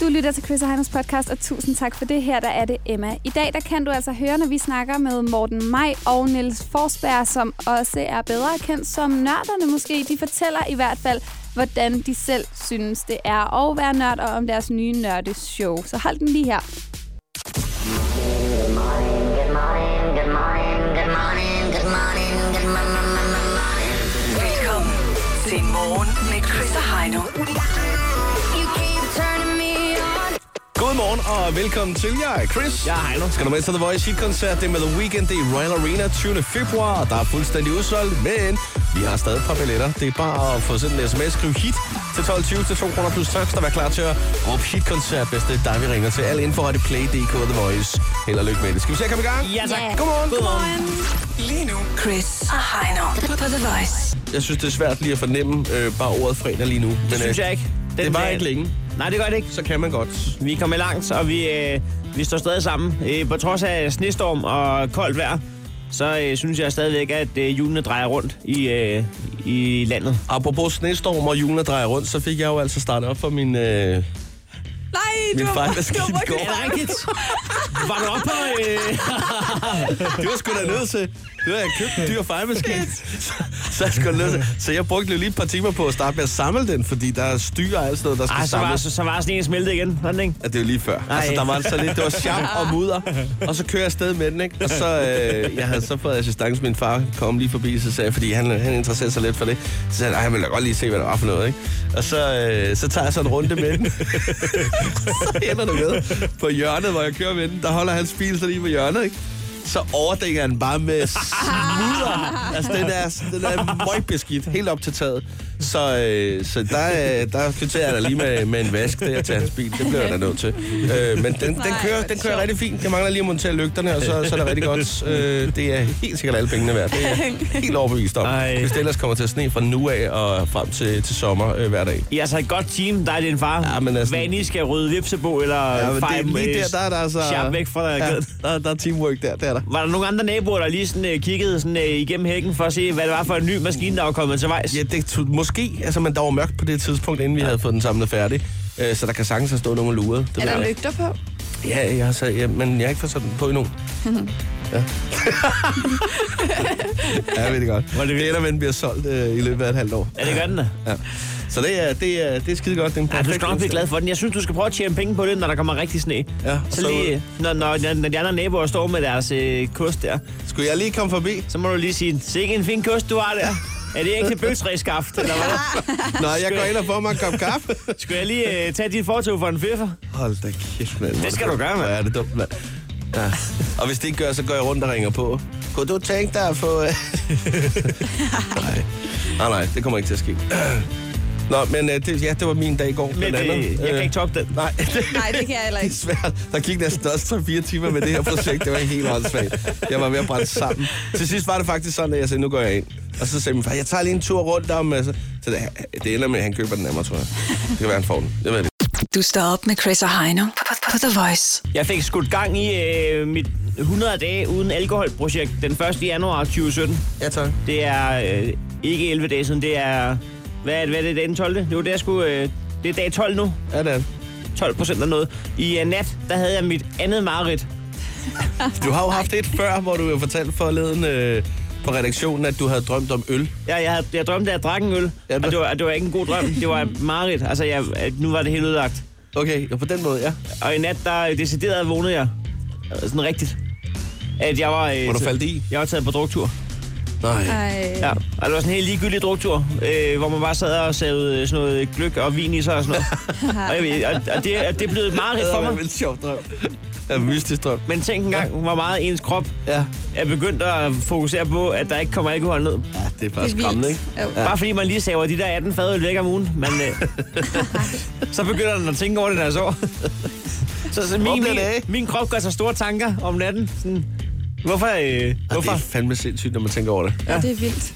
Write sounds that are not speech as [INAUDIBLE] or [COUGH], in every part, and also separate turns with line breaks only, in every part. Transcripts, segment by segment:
Du lytter til Chris og Heinos podcast, og tusind tak for det. Her der er det Emma. I dag der kan du altså høre, når vi snakker med Morten Maj og Niels Forsberg, som også er bedre kendt som nørderne måske. De fortæller i hvert fald, hvordan de selv synes, det er at være nørd, og om deres nye nørdeshow. Så hold den lige her.
Good morning, good morning, good morning, good morning, good morning, good morning.
Velkommen til Morgen med Chris og Heino.
You keep turning me on.
Godmorgen og velkommen til. Jeg er Chris. Jeg er Heino. Skal du med til The Voice Hit-koncert? Det er med The Weeknd. Det er i Royal Arena 20. februar. og Der er fuldstændig udsolgt, men vi har stadig et par billetter. Det er bare at få sendt en sms. Skriv hit til 12.20 til 2 kroner plus takst og vær klar til at råbe hit-koncert, hvis det er dig, vi ringer til. Al info er det play.dk The Voice. Held og lykke med det. Skal vi se at komme i gang?
Ja, tak.
Ja.
Godmorgen.
Lige nu, Chris og Heino på The Voice.
Jeg synes, det er svært lige at fornemme øh, bare ordet fredag lige nu. Men, øh,
Det synes jeg ikke. Den
det var
dag-
ikke længe.
Nej, det gør det ikke.
Så kan man godt.
Vi er kommet langt, og vi, øh, vi står stadig sammen. Øh, på trods af snestorm og koldt vejr, så øh, synes jeg stadigvæk, at øh, julene drejer rundt i, øh, i landet.
Apropos snestorm og julen der drejer rundt, så fik jeg jo altså startet op for min... Øh,
Nej,
Min
det var,
fejl,
bare-
der skete
det var
i går.
bare
Er det rigtigt? [LAUGHS] Var du oppe på... Øh...
Det var sgu da nødt til. Det var, jeg købte en dyr fejlmaskine. [LAUGHS] Så, så, jeg skulle nødt til. så jeg brugte lige et par timer på at starte med at samle den, fordi der er styre og alt sådan noget, der skal
Ej, så var,
samles.
så, så var sådan en smeltet igen. Var den ikke?
Ja, det er jo lige før. Ej. Altså, der var så lidt, det var sjam og mudder, og så kører jeg afsted med den, ikke? Og så, øh, jeg havde så fået assistance, min far kom lige forbi, så sagde jeg, fordi han, han interesserer sig lidt for det. Så sagde han, "Ej, jeg vil da godt lige se, hvad der var for noget, ikke? Og så, øh, så tager jeg så en runde med den. så [LAUGHS] ender det med, på hjørnet, hvor jeg kører med den, der holder hans bil så lige på hjørnet, ikke? Så overdækker han bare med mudder. Altså, den er, den er møgbeskidt, helt op til taget. Så, øh, så der, øh, der kvitterer jeg da lige med, med en vask der til hans bil. Det bliver jeg da nødt til. Øh, men den, den kører, den kører rigtig fint. Jeg mangler lige at montere lygterne, og så, så er det rigtig godt. Øh, det er helt sikkert alle pengene værd. Det er jeg helt overbevist om.
Ej.
Hvis det ellers kommer til at sne fra nu af og frem til, til sommer øh, hver dag.
I er altså et godt team, dig og din far.
Ja, men altså-
Hvad end I skal rydde vipsebo eller
Ja, men det er
fejl
lige
øh,
der, der er der altså...
sharp væk fra dig.
ja, der, der er teamwork der, det er der.
Var der nogle andre naboer, der lige sådan, øh, kiggede sådan, øh, igennem hækken for at se, hvad det var for en ny maskine, der var kommet til vejs?
Ja, det tog, måske. Altså, men der var mørkt på det tidspunkt, inden vi havde fået den samlet færdig. Øh, Så der kan sagtens have stået nogle lurede. Det
Er
ved jeg
der
ikke.
lygter på?
Ja, jeg har så, ja, men jeg har ikke fået sådan på
[LAUGHS]
endnu. ja. ja, jeg ved det godt.
Hvor er det vildt.
det ender med, at den bliver solgt øh, i løbet af et halvt år.
Ja, det gør den da.
Ja. Så det er, det er, det er skide godt. Det er en
Ja,
perfekt
du skal nok blive glad for den. Jeg synes, du skal prøve at tjene penge på det, når der kommer rigtig sne.
Ja, og
så
så-
lige, når, når, når de andre naboer står med deres øh, kost der,
Skulle jeg lige komme [LAUGHS] forbi?
så må du lige sige, sikke en fin kost, du har der. Er det ikke bølgetræskaft, eller hvad?
[LAUGHS] Nej, jeg går ind og får mig en kop kaffe. [LAUGHS]
Skal jeg lige øh, tage dit fortog for en fiffer?
Hold da kæft, mand.
Det skal du gøre, mand.
Ja, det er dumt, mand. Ja. Og hvis det ikke gør, så går jeg rundt og ringer på. Kunne du tænke dig at få... [LAUGHS] øh?" nej. nej, nej, det kommer ikke til at ske. Nå, men øh, det, ja, det var min dag i går.
Men
blandt andet.
øh, jeg kan
Øh,
ikke toppe den.
Nej, [LAUGHS] det,
Nej, det kan jeg heller
det er
ikke.
svært. Der gik næsten også 3-4 timer med det her projekt. Det var helt åndssvagt. Jeg var ved at brænde sammen. Til sidst var det faktisk sådan, at jeg sagde, nu går jeg ind. Og så sagde min far, jeg tager lige en tur rundt om. øh, Så så det, det ender med, at han køber den af mig, tror jeg. Det kan være, han får den. Det ved jeg
Du står op med Chris og Heino på, på, på The Voice.
Jeg fik skudt gang i øh, mit 100 dage uden alkoholprojekt den 1. januar 2017.
Ja, tak.
Det er øh, ikke 11 dage siden, det er... Hvad, er- hvad er det, den 12. Det var det, jeg skulle... Øh, det er dag 12 nu.
Ja, det er det.
12 procent eller noget. I uh, nat, der havde jeg mit andet mareridt.
Du har jo haft et før, hvor du jo fortalte forleden øh, på redaktionen, at du havde drømt om øl.
Jeg, jeg, havde, jeg drømte, at jeg drak en øl,
Ja,
og
men-
det var, det var ikke en god drøm. Det var et mareridt. Altså, jeg, at nu var det helt ødelagt.
Okay, og på den måde, ja.
Og i nat, der øh, decideret vågnede jeg. Øh, Sådan rigtigt. At jeg var... Øh,
Hvor du
så-
faldt i?
Jeg var taget på druktur.
Nej.
Ej.
Ja, og det var sådan en helt ligegyldig druktur, øh, hvor man bare sad og savede øh, sådan noget gløk og vin i sig og sådan noget. og, jeg, ved- og, og, det, og det er blevet et mareridt
Det
for
var en
mig.
vildt sjov drøm. Ja, en mystisk drøm.
Men tænk engang, hvor meget ens krop
Ja.
er begyndt at fokusere på, at der ikke kommer alkohol ned.
ja, det er bare
Det er
skræmmende, ikke?
vildt. Jo.
Ja. Bare fordi man lige saver de der 18 fadøl væk om ugen, men
[LAUGHS]
øh, så begynder den at tænke over det deres år. så så
Hvor
min,
bliver
min,
det af?
min krop gør sig store tanker om natten. Sådan, hvorfor, øh,
Og det
hvorfor?
er fandme sindssygt, når man tænker over det.
Ja, det er vildt.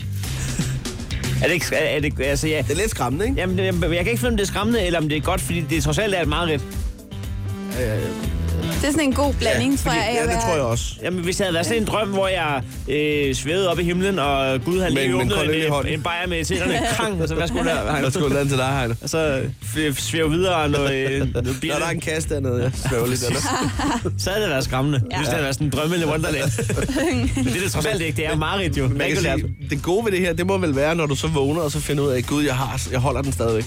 Er det ikke, er, er det, altså, ja.
Det er lidt skræmmende, ikke?
Jamen, jeg, jeg kan ikke finde, om det er skræmmende, eller om det er godt, fordi det trods alt er et mareridt.
Ja, ja, ja.
Det er sådan en god blanding, ja, tror jeg. af
ja,
at
det
være-
tror jeg også.
Jamen, hvis det havde været sådan en drøm, hvor jeg øh, svævede op i himlen, og Gud havde
Men-
lige
men
åbnet
kun øl i
en, øh,
hånden.
en bajer med tænderne, krang, og så hvad skulle
[LAUGHS]
der?
Jeg skulle lade til dig, Heino.
Og så f- svæve videre, og noget, øh, noget bil.
Når der er en kasse dernede, jeg svæver lidt [LAUGHS] dernede.
Så havde det været skræmmende, ja. hvis det havde været sådan en drømme eller wonderland. Men det er det trods alt ikke, det er Marit jo.
Man kan
regulært.
sige, det gode ved det her, det må vel være, når du så vågner, og så finder ud af, gud, jeg, har, jeg holder den stadigvæk.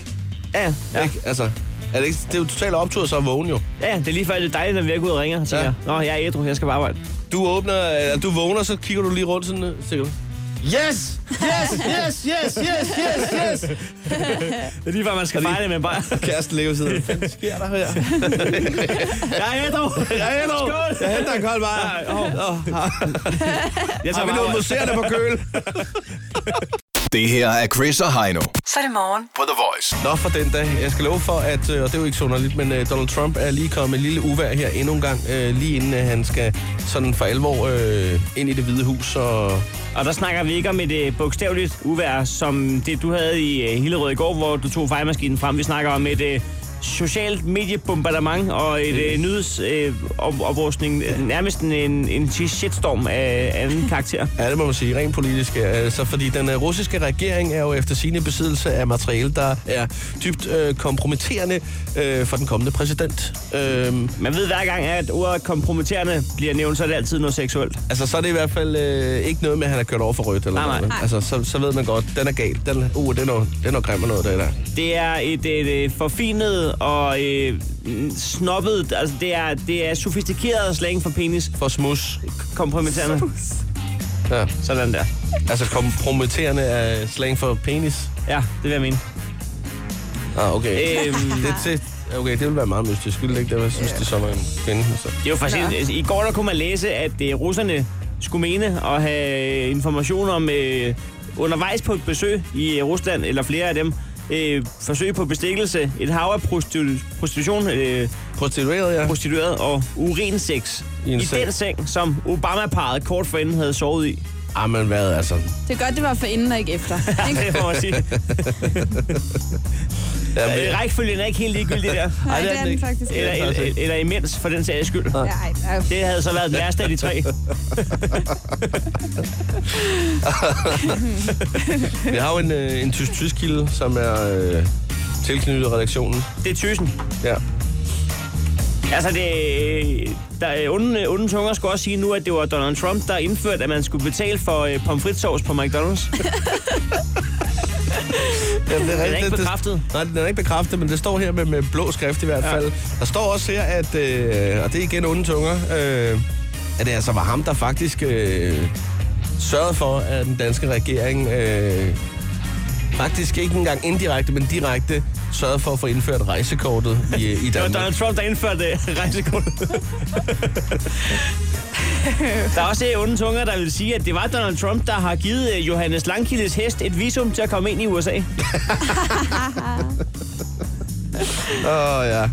Ja,
Ja.
ja,
Ikke? Altså, er det, ikke, det er jo totalt optur, så at vågne jo.
ja, det er lige før, det er dejligt, når vi er gået og ringer. Så
Ja.
ja. jeg, Nå, jeg er ædru, jeg skal bare arbejde.
Du åbner, eller du vågner, så kigger du lige rundt sådan, øh, siger du. Yes! Yes, yes, yes, yes, yes, yes!
Det er lige før, man skal fejre det med en bajer.
Kæresten ligger ved siden. af, Hvad fanden sker der [LAUGHS] her?
Jeg er ædru!
Jeg henter,
Skål!
jeg henter en kold bajer.
Ej, åh. Jeg
Har
tager
vi
bare
noget
arbejde.
museerne på køl?
Det her er Chris og Heino
Så er det morgen.
på The Voice.
Nå for den dag. Jeg skal love for, at, øh, og det er jo ikke så underligt, men øh, Donald Trump er lige kommet med en lille uvær her endnu en gang, øh, lige inden øh, han skal sådan for alvor øh, ind i det hvide hus. Og...
Og der snakker vi ikke om et øh, bogstaveligt uvær, som det du havde i øh, Hillerød i går, hvor du tog fejlmaskinen frem. Vi snakker om et øh, socialt mediebombardement og et øh, nyhedsoprustning. Øh, op- oprustning. Nærmest en, en, en shitstorm af anden karakter.
Ja, det må man sige. Rent politisk. øh, Så fordi den øh, russiske regering er jo efter sine besiddelse af materiale, der er dybt øh, kompromitterende øh, for den kommende præsident. Øh,
Man ved hver gang, at ordet kompromitterende bliver nævnt, så er det altid noget seksuelt.
altså, så er det i hvert fald øh, ikke noget med, at han har kørt over for rødt. Eller
Nej, nej.
Noget. Altså, så, så ved man godt, den er gal. Den, uh, det er noget, det er noget grimt noget, det der.
Det er et, et, et forfinet og øh, snobbet, altså det er, det er sofistikeret slang for penis.
For smus.
Kompromitterende.
Ja.
Sådan der.
Altså kompromitterende er slang for penis.
Ja, det vil jeg mene.
Ah, okay.
Øhm.
det, det, okay, det ville være meget mystisk. Ville det ikke det? Jeg synes, det er som en kvinde. Så.
Det er jo faktisk... I går der kunne man læse, at øh, russerne skulle mene at have information om øh, undervejs på et besøg i øh, Rusland, eller flere af dem, øh, forsøg på bestikkelse, et hav af prostitu- prostitution, øh,
Prostitueret, ja.
prostitueret og urinsex
I
i,
en
i
seng.
den seng, som Obama-paret kort forinden havde
[LAUGHS]
sovet i.
Ah, men hvad altså?
Det er godt, det var for inden og ikke efter. Ikke?
Det må man sige.
Jamen,
Øh, Rækkefølgen er ikke helt ligegyldig der.
Nej, det
den
er den
ikke.
faktisk
Eller,
ikke.
eller, eller imens, for den sags skyld.
Ja, ej, der er jo-
Det havde så været den værste af de tre.
vi har jo en, øh, en tysk tysk kilde, som er øh, tilknyttet redaktionen.
Det er tysen.
Ja.
Altså, det, der, unden, unden tunger skulle også sige nu, at det var Donald Trump, der indførte, at man skulle betale for øh, pomfritsovs på
[LAUGHS]
McDonald's.
Jamen, det
Den er ikke bekræftet.
Det, nej, den er ikke bekræftet, men det står her med, med blå skrift i hvert fald. Der står også her, at, øh, og det er igen onde tunger, øh, at det altså var ham, der faktisk øh, sørgede for, at den danske regering øh, faktisk ikke engang indirekte, men direkte sørgede for at få indført rejsekortet i, i
Det var
Danmark.
Donald Trump, der
[LAUGHS]
indførte øh, rejsekortet. der er også øh, onde tunger, der vil sige, at det var Donald Trump, der har givet øh, Johannes Langkildes hest et visum til at komme ind i USA.
Åh, oh, ja.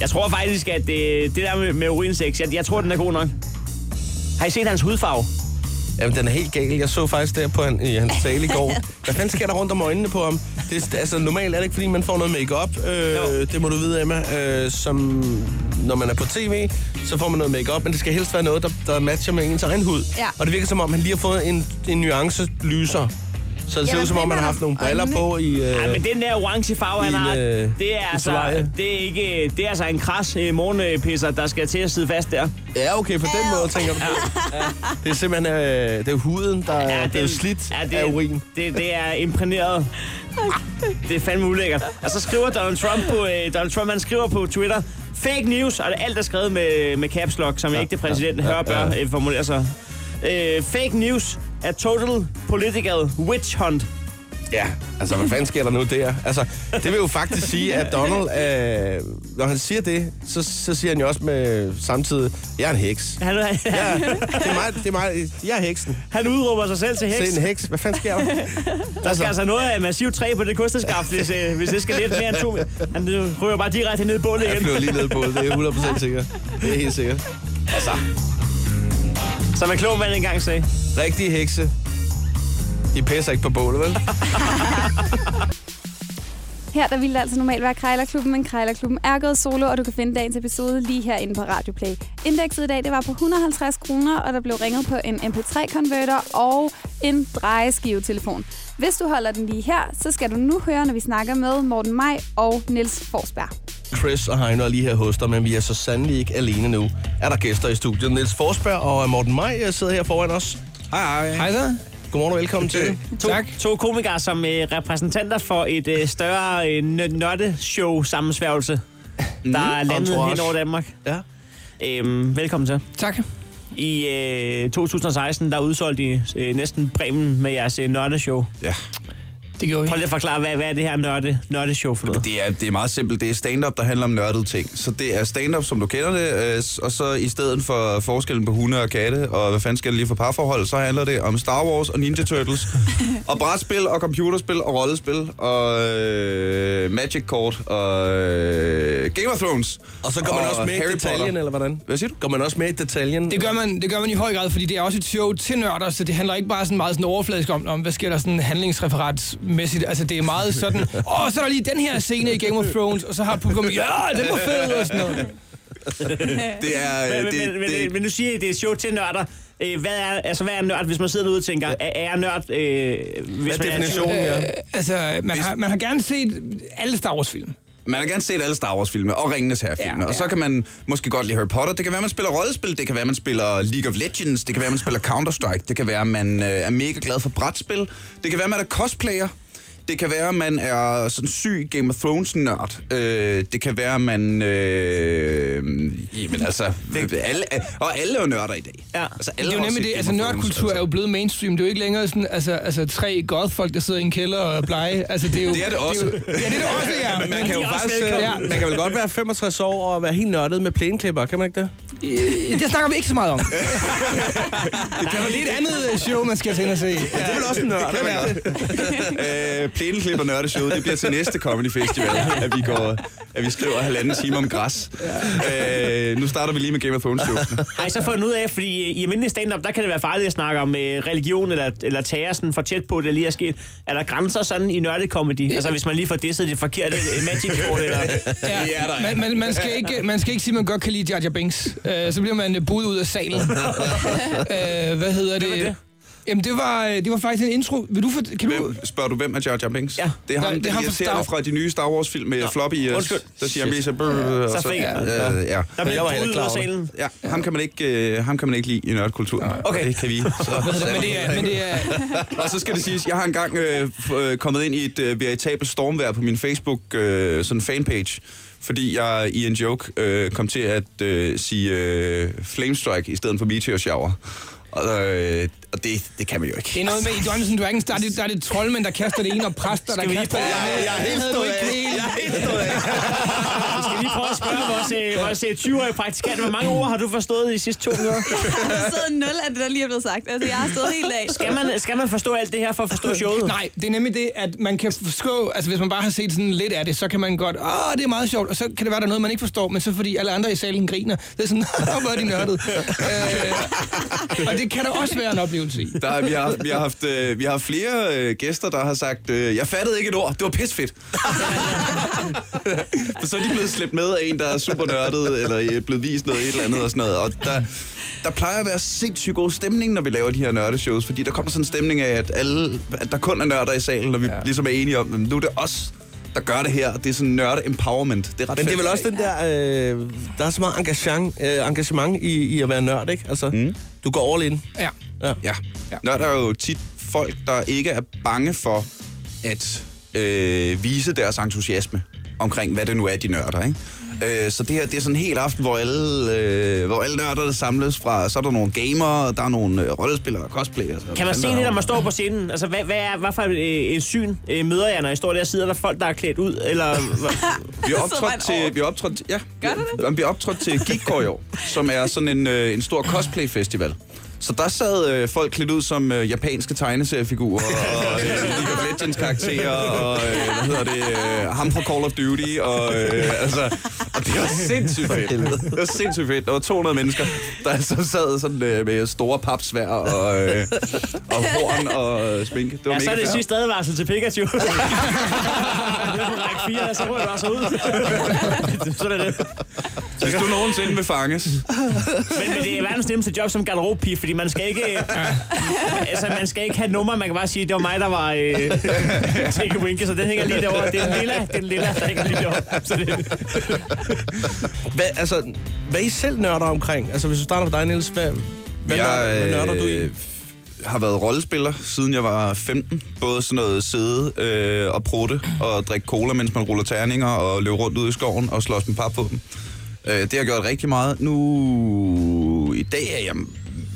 Jeg tror faktisk, at øh, det, det der med, med urinsex, jeg, jeg tror, den er god nok. Har I set hans hudfarve?
Jamen, den er helt gal. Jeg så faktisk der på han, i hans tale i går. Hvad fanden sker der rundt om øjnene på ham? Det, er- altså, normalt er det ikke, fordi man får noget makeup.
Jo.
Øh, det må du vide, Emma. Øh, som, når man er på tv, så får man noget makeup, men det skal helst være noget, der, der matcher med ens egen hud.
Ja.
Og det virker som om, han lige har fået en, en nuance lyser. Så det ser
Jamen,
ud som om,
det
man har
er
haft nogle briller
øjnene.
på i... Øh,
Ja, men den der orange farve, han
I en,
har,
øh,
det er,
i
altså,
solarie.
det er, ikke, det er altså en kras øh, morgenpisser, der skal til at sidde fast der.
ja, okay, på den måde tænker du. Ja. Det er simpelthen øh, det er huden, der ja, det, er jo slidt ja, det, af urin.
Det, det er imprægneret. Det er fandme ulækkert. Og så skriver Donald Trump på, øh, Donald Trump, han skriver på Twitter, fake news, og alt er skrevet med, med caps lock, som ja, ægte præsidenten ja, ja, hører bør øh, formulere sig. Øh, fake news er total political witch hunt.
Ja, altså hvad fanden sker der nu der? Altså, det vil jo faktisk sige, at Donald, øh, når han siger det, så, så siger han jo også med samtidig, jeg er en heks.
Han, han,
Ja, det er mig, det er mig, jeg er heksen.
han udråber sig selv til heks.
Se en heks, hvad fanden sker der?
Der skal altså noget af massivt træ på det kosteskaft, hvis, øh, hvis det skal lidt mere end to. Han øh, ryger bare direkte ned i bålet
Jeg
igen.
flyver lige ned på det, det er 100% sikkert. Det er helt sikkert. Altså,
Som en klog mand engang sagde.
Rigtige hekse, de pisser ikke på bålet, vel?
Her der ville det altså normalt være Krejlerklubben, men Krejlerklubben er gået solo, og du kan finde dagens episode lige herinde på Radioplay. Indekset i dag det var på 150 kroner, og der blev ringet på en MP3-konverter og en drejeskivetelefon. Hvis du holder den lige her, så skal du nu høre, når vi snakker med Morten Maj og Niels Forsberg.
Chris og Heino er lige her hos dig, men vi er så sandelig ikke alene nu. Er der gæster i studiet? Niels Forsberg og Morten Maj øh, sidder her foran os.
Hej, hej.
Hej så. Godmorgen og velkommen til.
To,
Tak.
to komikere som øh, repræsentanter for et øh, større øh, nørdeshow sammensværgelse, der er landet
entourage.
hen over Danmark.
Ja.
Øhm, velkommen til.
Tak.
I øh, 2016, der udsolgte I øh, næsten Bremen med jeres øh, nørdeshow.
Ja. Det gjorde vi.
Prøv lige at forklare, hvad, hvad er det her nørde, nørdeshow for noget?
Det er, det er meget simpelt. Det er stand-up, der handler om nørdede ting. Så det er stand-up, som du kender det, øh, s- og så i stedet for forskellen på hunde og katte, og hvad fanden skal det lige for parforhold, så handler det om Star Wars og Ninja
[LAUGHS]
Turtles, og brætspil og computerspil og rollespil, og øh, Magic Kort og øh, Game of Thrones.
Og så går man også med i
Harry
detaljen,
Potter.
eller hvordan?
Hvad siger du?
Går man også med i detaljen?
Det gør, man, det gør man i høj grad, fordi det er også et show til nørder, så det handler ikke bare sådan meget sådan overfladisk om, om hvad sker der sådan handlingsreferatsmæssigt. Altså, det er meget sådan, åh, oh, så er der lige den her scene i Game of Thrones, og så har publikum, ja, den var fed, og sådan noget.
[LAUGHS] Det er... øh,
Men,
det,
men, men,
det,
men, men nu siger I, at det er et show til nørder. Øh, hvad, er, altså, hvad er en nørd, hvis man sidder derude og tænker, er, er jeg nørd? Øh, hvis
Hvad er
man
definitionen her?
Altså, man har, man har gerne set alle Star Wars-film.
Man har gerne set alle Star Wars-filmer og Ringenes Herre-filmer, ja, ja. og så kan man måske godt lide Harry Potter. Det kan være, man spiller rollespil, det kan være, man spiller League of Legends, det kan være, man spiller Counter-Strike, det kan være, man øh, er mega glad for brætspil, det kan være, man er cosplayer, det kan være, man er sådan syg Game of Thrones-nørd, øh, det kan være, man... Øh, jamen altså, alle, og alle er jo nørder i dag.
Ja.
altså, alle
Det er jo
har set
nemlig det,
Game
altså
of Thrones,
nørdkultur er jo blevet mainstream. Det er jo ikke længere sådan, altså, altså tre godfolk, der sidder i en kælder og er blege. Altså, det er jo...
Det er det også.
jo- ja, det er det også, ja.
Men man kan jo
De er også
faktisk... øh,
velkommen.
Ja.
Man kan vel godt være 65 år og være helt nørdet med plæneklipper, kan man ikke det?
Det snakker vi ikke så meget om. det kan være lidt andet øh, show, man skal tænde og se. Ja.
Det er vel også en nørd.
Kan man godt. øh, Plæneklip og nørdeshow, det bliver til næste Comedy Festival, at vi, går, at vi skriver halvanden time om græs. Øh, nu starter vi lige med Game of Thrones show.
Har I så fundet ud af, fordi øh, i almindelig stand-up, der kan det være farligt at snakke om øh, religion eller, eller terror sådan for tæt på, det lige er sket. Er der grænser sådan i nørdekomedy? Altså hvis man lige får disset det forkerte øh, magic board, eller...
er der, ja.
Man, man, man, skal ikke, man skal ikke sige, at man godt kan lide Jar Jar Binks. Øh, så bliver man øh, budt ud af salen.
[LAUGHS]
øh, hvad hedder det? det? Jamen, det var, øh, det var faktisk en intro. Vil du for, kan du...
Hvem, spørger du, hvem er Jar Jar Binks?
Ja.
Det er ham,
Nej,
det er ham
Star-
fra, fra de nye Star Wars-film med floppy. øh,
undskyld.
Der siger han lige så... brr, og
Så fik jeg.
øh, ja.
Der
Jeg var
bliver
heller
budet
ikke
ud
klar
af
over det.
salen.
Ja, ham kan man ikke, øh, ham kan man ikke lide i nørdkulturen.
Okay.
Det kan vi. Så.
Men det er, men det er,
Og så skal det siges, jeg har engang øh, f- øh, kommet ind i et øh, veritabelt stormvær på min Facebook øh, sådan fanpage, fordi jeg i en joke øh, kom til at øh, sige øh, flamestrike i stedet for meteor shower. Og, øh, og det, det kan man jo ikke.
det er noget med i Dungeons and Dragons, der er det, der er det troldmænd, der kaster det ene, og præster, der
vi lige
kaster det
prøve-
andet.
Jeg er helt
Det havde
stået
du ikke
af.
lige.
Jeg er helt stået af.
[LAUGHS] Vi skal lige prøve at spørge vores, øh, vores øh, 20-årige praktikant, hvor mange ord har du forstået i de sidste to minutter?
Der sidder nul af det, der lige er blevet sagt. Altså, jeg har stået helt af.
Skal man, skal man forstå alt det her for at forstå showet?
Nej, det er nemlig det, at man kan forstå, altså hvis man bare har set sådan lidt af det, så kan man godt, åh, det er meget sjovt, og så kan det være, der er noget, man ikke forstår, men så fordi alle andre i salen griner, det er sådan, [LAUGHS] åh, hvor er de nørdet. øh, og det kan der også være en oplevelse i.
Der, er- vi, har, vi, har haft, øh, vi har haft flere øh, gæster, der har sagt, øh, jeg fattede ikke et ord, det var pisfedt. [LAUGHS] For så er de blevet slæbt med af en, der er super nørdet, eller øh, blevet vist noget et eller andet og sådan noget. Og der, der plejer at være sindssygt god stemning, når vi laver de her nørdeshows, fordi der kommer sådan en stemning af, at, alle, at der kun er nørder i salen, og vi ja. ligesom er enige om, at nu er det os, der gør det her, og det er sådan nørde empowerment. Det er ret
Men det er
fedt.
vel også den der, øh, der er så meget engagement, øh, engagement i, i at være nørd, ikke? Altså, mm. du går all in.
Ja.
Ja. ja. Nørder er jo tit folk, der ikke er bange for at øh, vise deres entusiasme omkring, hvad det nu er, de nørder, ikke? Øh, så det her, det er sådan en hel aften, hvor alle, øh, hvor alle nørder der samles fra. Så er der nogle gamere, der er nogle øh, rollespillere og cosplayere.
Kan man se det, når man står på scenen? Altså, hvad, hvad, er, hvad for et, et syn øh, møder jeg, når jeg står der og sidder der er folk, der er klædt ud? Eller,
[LAUGHS] Vi er
Så var han
optrådt
over.
til, vi er optrådt, ja,
Gør du
det? Vi er optrådt til Geekcore i år, som er sådan en, øh, en stor cosplay-festival. Så der sad øh, folk klædt ud som øh, japanske tegneseriefigurer, og øh, League of Legends karakterer, og øh, hvad hedder det, øh, ham fra Call of Duty, og øh, altså, og Det var sindssygt fedt. Det var sindssygt fedt. Der var 200 mennesker, der så sad sådan, øh, med store papsvær og, øh, og horn og øh, sminke. Det var
Ja,
mega
så er det
fedt.
sidste advarsel til Pikachu. [LAUGHS] Det er på række 4, og så ryger du også ud.
[LAUGHS]
Sådan er det.
Hvis du nogensinde vil fanges.
Men, men det er verdens nemmeste job som garderobepige, fordi man skal ikke... altså, man skal ikke have nummer, man kan bare sige, det var mig, der var øh, take a winke, så den hænger lige derovre. Det er den lilla, det er den lilla, der hænger lige derovre. Så det,
Hvad, altså, hvad er I selv nørder omkring? Altså, hvis du starter med dig, Niels, hvad, hvad, nørder, hvad nørder du i?
øh, har været rollespiller, siden jeg var 15. Både sådan noget sidde øh, og prutte og drikke cola, mens man ruller terninger og løbe rundt ud i skoven og slås med papvåben. Øh, det har jeg gjort rigtig meget. Nu i dag er jeg...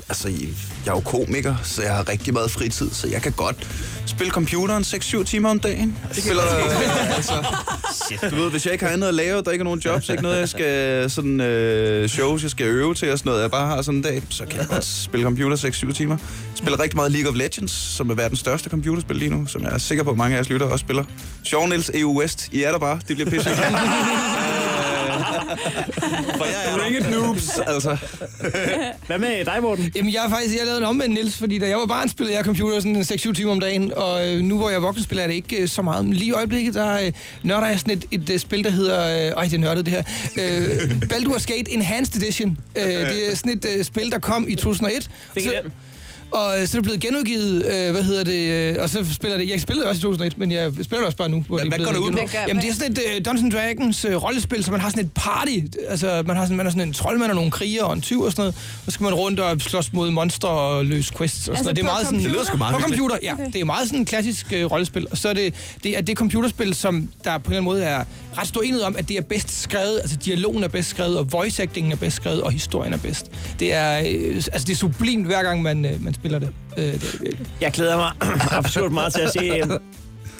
Altså, jeg er jo komiker, så jeg har rigtig meget fritid, så jeg kan godt spille computeren 6-7 timer om dagen. Jeg spiller, altså, du ved, hvis jeg ikke har andet at lave, der ikke er nogen jobs, ikke noget, jeg skal sådan øh, shows, jeg skal øve til og sådan noget, jeg bare har sådan en dag, så kan jeg godt spille computer 6-7 timer. Jeg spiller rigtig meget League of Legends, som er verdens største computerspil lige nu, som jeg er sikker på, at mange af jeres lyttere også spiller. Sjov Niels, EU West, I er der bare, det bliver pisse. Øh, For jeg er Ring it noobs, altså.
hvad med dig, Morten?
Jamen, jeg har faktisk jeg lavede en omvendt, Niels, fordi da jeg var barn, spillede jeg computer sådan 6-7 timer om dagen, og øh, nu hvor jeg er voksen, spiller jeg det ikke øh, så meget. Men lige i øjeblikket, der øh, nørder jeg sådan et, et øh, spil, der hedder... Øh, øj, det er nørdet, det her. Øh, Baldur's Gate Enhanced Edition. Øh, det er sådan et øh, spil, der kom i 2001.
Fik I
Så-
den?
og øh, så er det blevet genudgivet, øh, hvad hedder det, øh, og så spiller det, jeg spillede også i 2001, men jeg spiller det også bare nu. Hvor
Hvad-
det er
hvad går
blevet
det ud
genudgivet.
på? Hvad gør-
Jamen det er sådan et øh, Dungeons and Dragons øh, rollespil, så man har sådan et party, altså man, har sådan, man er sådan en troldmand og nogle kriger og en tyv og sådan noget, og så skal man rundt og slås mod monster og løse quests og sådan
Altså
noget. Det er
på
meget sådan,
computer? Det lyder sgu
meget
På
hyggeligt.
computer, ja. Okay. Det er meget sådan en klassisk øh, rollespil, og så er det, det er det computerspil, som der på en eller anden måde er ret stor enighed om, at det er bedst skrevet, altså dialogen er bedst skrevet, og voice actingen er bedst skrevet, og historien er bedst. Det er, øh, altså det er sublimt, hver gang man, øh, man spiller det. Øh, det er virkelig.
Jeg glæder mig [CLEARS THROAT] absurd meget til at se, øh,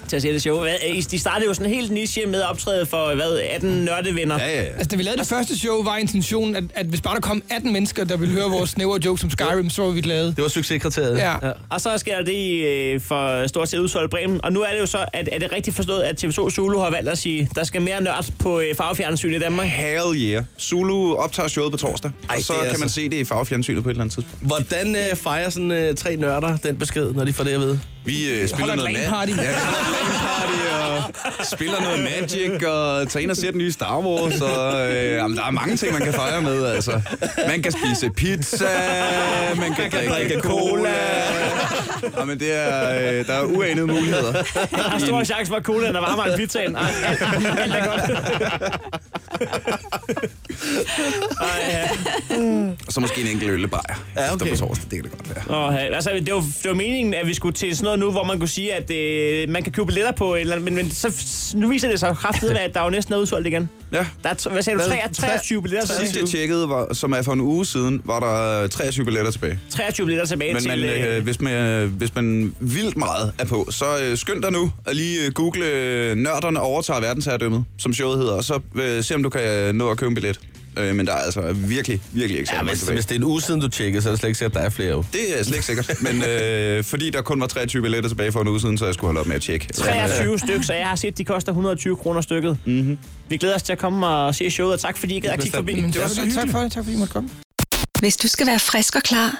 til at se det show. Hvad, øh, De startede jo sådan helt niche med at optræde for, hvad, 18 nørdevenner.
Ja, ja.
altså, da vi lavede det første show, var intentionen, at, at hvis bare der kom 18 mennesker, der ville høre vores snævre jokes om Skyrim, så var vi glade.
Det var succeskriteriet.
Ja.
Og så sker det i, øh, for stort set udsolgt Bremen. Og nu er det jo så, at er det rigtigt forstået, at TV2 Zulu har valgt at sige, der skal mere nørd på øh, farvefjernsyn i Danmark?
Hell yeah. Zulu optager showet på torsdag,
Ej,
og så
det er
kan man
altså-
se det i farvefjernsynet på et eller andet tidspunkt.
Hvordan øh, fejrer sådan øh, tre nørder den besked, når de får det at vide?
Vi øh, spiller
holder
noget
en LAN-party.
ma- Ja, vi holder en LAN-party og spiller noget Magic og tager ind og ser den nye Star Wars. Og, øh, jamen, der er mange ting, man kan fejre med, altså. Man kan spise pizza, man kan, drikke,
drikke
cola. Jamen, det er, øh, der er uanede muligheder.
Der er stor chance for, at colaen er varmere end pizzaen. Ej, alt- alt er godt. Ej, ja.
Og så måske en enkelt øllebajer.
Ja, okay.
På torsdag, det kan det godt være.
Åh, ja. altså, det, var, det var meningen, at vi skulle til sådan noget nu, hvor man kunne sige, at øh, man kan købe billetter på et eller andet, men, men så, nu viser det sig kraftigt, at der jo næsten er udsolgt igen.
Ja.
Der er, t- hvad sagde du,
Hvad?
23, 23 billetter?
Sidst
tilbage?
jeg tjekkede, var, som er for en uge siden, var der 23 billetter tilbage.
23 billetter tilbage
Men man,
til...
øh, hvis, man, øh, hvis man vildt meget er på, så øh, skynd dig nu og lige øh, google øh, Nørderne overtager verdensherredømmet, som showet hedder, og så øh, se, om du kan øh, nå at købe en billet. Øh, men der er altså virkelig, virkelig ikke så
Ja,
mange
hvis,
tilbage.
hvis det er en uge siden, du tjekkede, så er det slet ikke sikkert, at der er flere. Jo.
Det er slet ikke sikkert, men øh, [LAUGHS] fordi der kun var 23 billetter tilbage for en uge siden, så jeg skulle holde op med at tjekke.
23 styk, så jeg har set, de koster 120 kroner stykket. Mm-hmm. Vi glæder os til at komme og se showet, og tak fordi I gad at kigge forbi.
Men
Det var så
tak
hyggeligt.
for det. Tak fordi I måtte komme.
Hvis du skal være frisk og klar,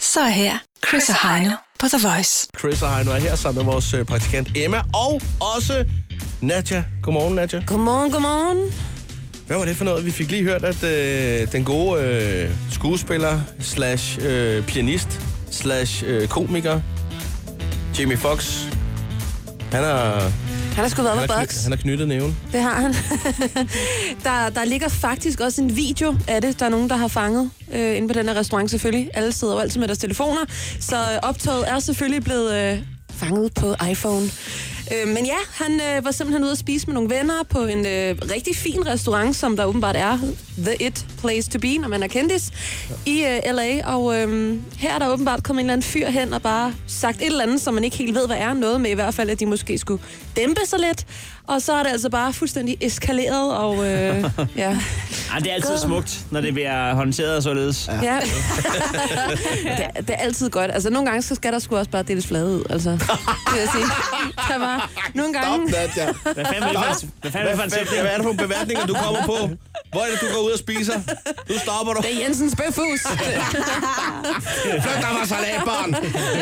så er her Chris og Heino på The Voice.
Chris og Heino er her sammen med vores øh, praktikant Emma, og også Nadja. Godmorgen, Nadja.
Godmorgen, godmorgen.
Hvad var det for noget? Vi fik lige hørt, at øh, den gode øh, skuespiller, slash øh, pianist, slash øh, komiker, Jamie Fox, han har,
Han har sgu været med
han har,
boks.
kny- han har knyttet næven.
Det har han. [LAUGHS] der, der ligger faktisk også en video af det, der er nogen, der har fanget øh, inde på den her restaurant selvfølgelig. Alle sidder jo altid med deres telefoner, så øh, optoget er selvfølgelig blevet øh, fanget på iPhone. Øh, men ja, han øh, var simpelthen ude at spise med nogle venner på en øh, rigtig fin restaurant, som der åbenbart er The It Place to Be, når man er kendis, i øh, L.A. Og øh, her er der åbenbart kommet en eller anden fyr hen og bare sagt et eller andet, som man ikke helt ved, hvad er. Noget med i hvert fald, at de måske skulle dæmpe sig lidt. Og så er det altså bare fuldstændig eskaleret, og øh, ja.
Ej, det er altid smukt, når det bliver håndteret således. Ja.
ja. [LAUGHS] det, er- det er altid godt. Altså, nogle gange så skal der sgu også bare deles flade ud, altså. Det vil jeg sige. Der var nogle gange...
Nadja.
Hvad fanden er det for en- hvad fanden er det for en sætning?
Hvad er det for nogle beværtninger, du kommer på? Hvor er det, du går ud og spiser? Nu stopper du.
Det er Jensens bøfhus.
Flyt dig fra salatbaren.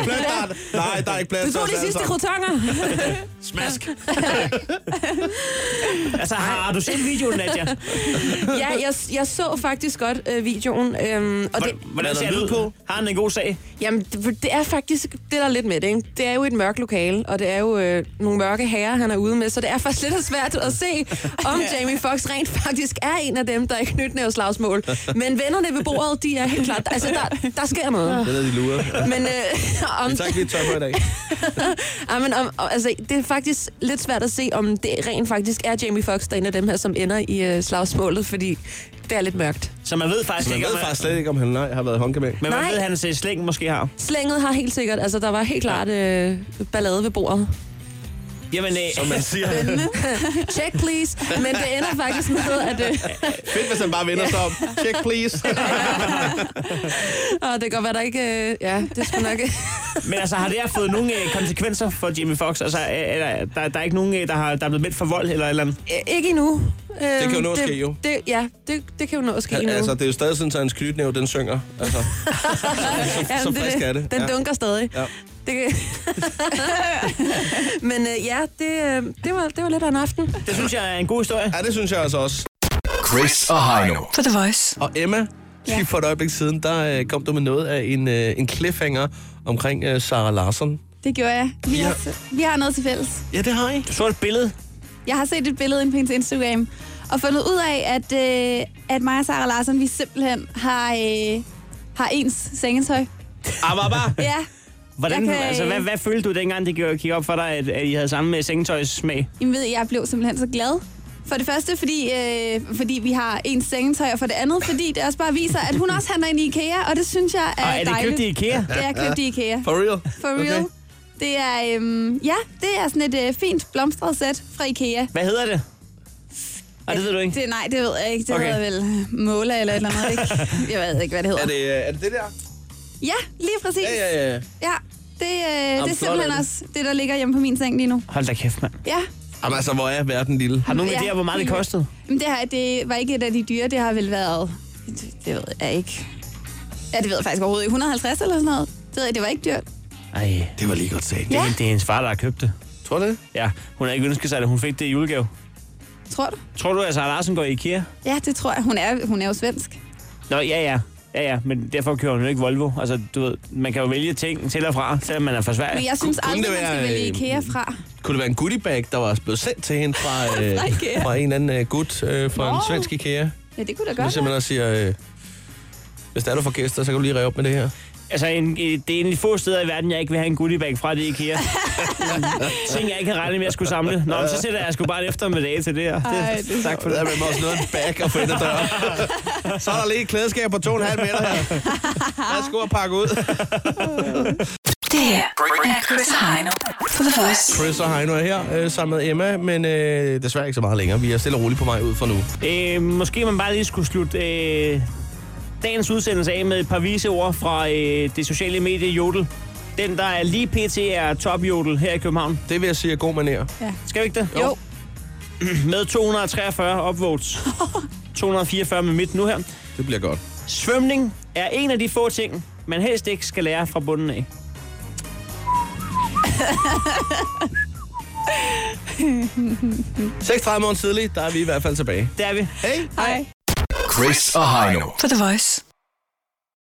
Flyt dig. Nej, der er ikke plads
Du tog
altså-
os
de
alle
sidste
sammen.
krotonger.
Smask.
[LAUGHS] Altså, har du set videoen, Nadia?
ja, jeg, jeg så faktisk godt øh, videoen. Øhm, og det,
Hvordan ser det ud på? Har han en god sag?
Jamen, det, for det er faktisk det, der er lidt med det, ikke? Det er jo et mørkt lokale, og det er jo øh, nogle mørke herrer, han er ude med, så det er faktisk [LAUGHS] lidt svært at se, om Jamie Fox rent faktisk er en af dem, der er knytnæveslagsmål. Men vennerne ved bordet, de er helt klart... Altså, der, der sker noget.
Det er de
[LAUGHS]
lurer.
Men, øh, om,
Vi tager ikke lige tøj på i dag.
ja, men om, og- altså, det er faktisk lidt svært at se, om det rent faktisk er Jamie Fox, der er en af dem her, som ender i øh, slagsmålet, fordi det er lidt mørkt.
Så man ved faktisk
Så man
ikke,
ved
om han-
faktisk slet ikke, om han nej, har været håndkabel.
Men man
Nej.
ved, at han ser slæng måske har.
Slænget har helt sikkert... Altså, der var helt klart øh, ballade ved bordet.
Jamen, øh,
Som man [LAUGHS] siger.
[LAUGHS] Check, please. Men det ender faktisk med, at... Øh,
Fedt, hvis han bare vender sig om. Check, please.
Og det kan godt være, der ikke... Øh, ja, det skal nok...
[LAUGHS] men altså, har det her fået nogle øh, konsekvenser for Jimmy Fox? Altså, øh, er der, der, der er ikke nogen, øh, der, har, der er blevet meldt for vold eller et eller andet?
Øh, ikke endnu. Øhm, det
kan jo nå at ske, jo.
Det, ja, det, det kan jo nå at ske endnu.
altså, det er jo stadig sådan, at hans knytnæve, den synger. Altså,
Jamen,
så
det
frisk er det.
Den
Ja.
dunker stadig.
Ja.
Det kan... [LAUGHS] Men øh, ja, det, øh, det, var, det var lidt af en aften.
Det synes jeg er en god historie.
ja, det synes jeg altså også.
Chris og Heino.
På The Voice.
Og Emma, lige for et øjeblik siden, der øh, kom du med noget af en, øh, en cliffhanger omkring øh, Sarah Larsen.
Det gjorde jeg. Vi,
Ja.
har, s- vi har noget til fælles.
Ja, det har I.
Du så et billede.
Jeg har set et billede inde på hendes Instagram, og fundet ud af, at, øh, at mig og Sarah Larsen, vi simpelthen har, øh, har ens sengetøj.
Ah,
Ababa.
Ja,
Hvordan,
Jeg
kan...
kan-
altså, hvad, hvad følte du dengang, det gjorde- gik op for dig, at, at I havde samme øh, sengetøjssmag?
I ved, jeg blev simpelthen så glad. For det første, fordi, øh, fordi vi har ens sengetøj, og for det andet, fordi det også bare viser, at hun også handler ind i IKEA, og det synes jeg er,
Og er det
dejligt.
købt i IKEA?
Det er købt i IKEA.
For real?
For real.
Okay.
Okay. Det er, øhm, ja, det er sådan et øh, fint blomstret sæt fra IKEA.
Hvad hedder det? Og det ved du ikke.
Det, nej, det ved jeg ikke. Det
Okay.
okay. hedder vel Måla eller et eller andet.
[LAUGHS]
Ikke? Jeg ved ikke, hvad det hedder.
Er det, øh, er det det der?
Ja, lige præcis.
Ja, ja, ja.
ja det, øh, det er
flot er
simpelthen
det.
også det, der ligger hjemme på min seng lige nu.
Hold da kæft, mand.
Ja.
Jamen altså, hvor er verden lille?
Har du nogen
Ja,
idéer, hvor meget det
helt
kostede?
Men det her, det var ikke et af de dyre. Det har vel været... Det, det ved jeg ikke. Ja, det ved jeg faktisk overhovedet ikke. 150 eller sådan noget. Det, ved jeg, det var ikke dyrt.
Ej, det,
Det var lige godt sagt.
Ja,
det er hendes far, der har købt det.
Tror du det?
Ja, hun har ikke ønsket sig, at hun fik det i julegave.
tror du?
Tror du, altså, at Sarah Larsen går i IKEA?
Ja, det tror jeg. Hun er, hun er jo svensk.
Nå, ja, ja. Ja, ja, men derfor kører hun jo ikke Volvo. Altså, du ved, man kan jo vælge ting til og fra, selvom man er fra Sverige.
Men jeg synes
kunne
aldrig,
det
man skal
være,
vælge
øh,
IKEA fra.
Kunne det være en goodiebag, der var blevet sendt til hende fra, øh,
Fra Ikea.
fra en eller anden øh, gut øh, fra en
Nå.
svensk IKEA?
Ja, det kunne da
Der
godt
simpelthen
være.
også siger, øh, hvis der er du får gæster, så kan du lige ræve op med det her.
Altså, en, øh, det er en af de få steder i verden, jeg ikke vil have en goodiebag fra, det er
[LAUGHS]
IKEA. ting, jeg ikke havde regnet med, at jeg skulle samle. Nå, men så sætter jeg sgu bare en eftermiddag til det. Og det
Ej, det er
tak for
Der
det.
er man også noget af en bag at få ind ad døren. Så er der lige et klædeskab på 2,5 meter her. Værsgo at pakke ud.
Det her er Chris og Heino. På The Voice.
Chris og Heino er her øh, sammen med Emma, men øh, desværre ikke så meget længere. Vi er stille og roligt på vej ud for nu.
Øh, måske man bare lige skulle slutte øh, dagens udsendelse af med et par vise ord fra øh, det sociale medie Jodel. Den, der er lige pt. er top Jodel her i København.
Det vil jeg sige er god manér.
Skal vi ikke det?
Jo.
[CLEARS THROAT] Med 243 upvotes. 244 med midt nu her.
Det bliver godt.
Svømning er en af de få ting, man helst ikke skal lære fra bunden af.
Seks 30 måneder tidligt, der er vi i hvert fald tilbage.
Der er vi.
Hej!
Hej.
Chris og Heino.
På The Voice.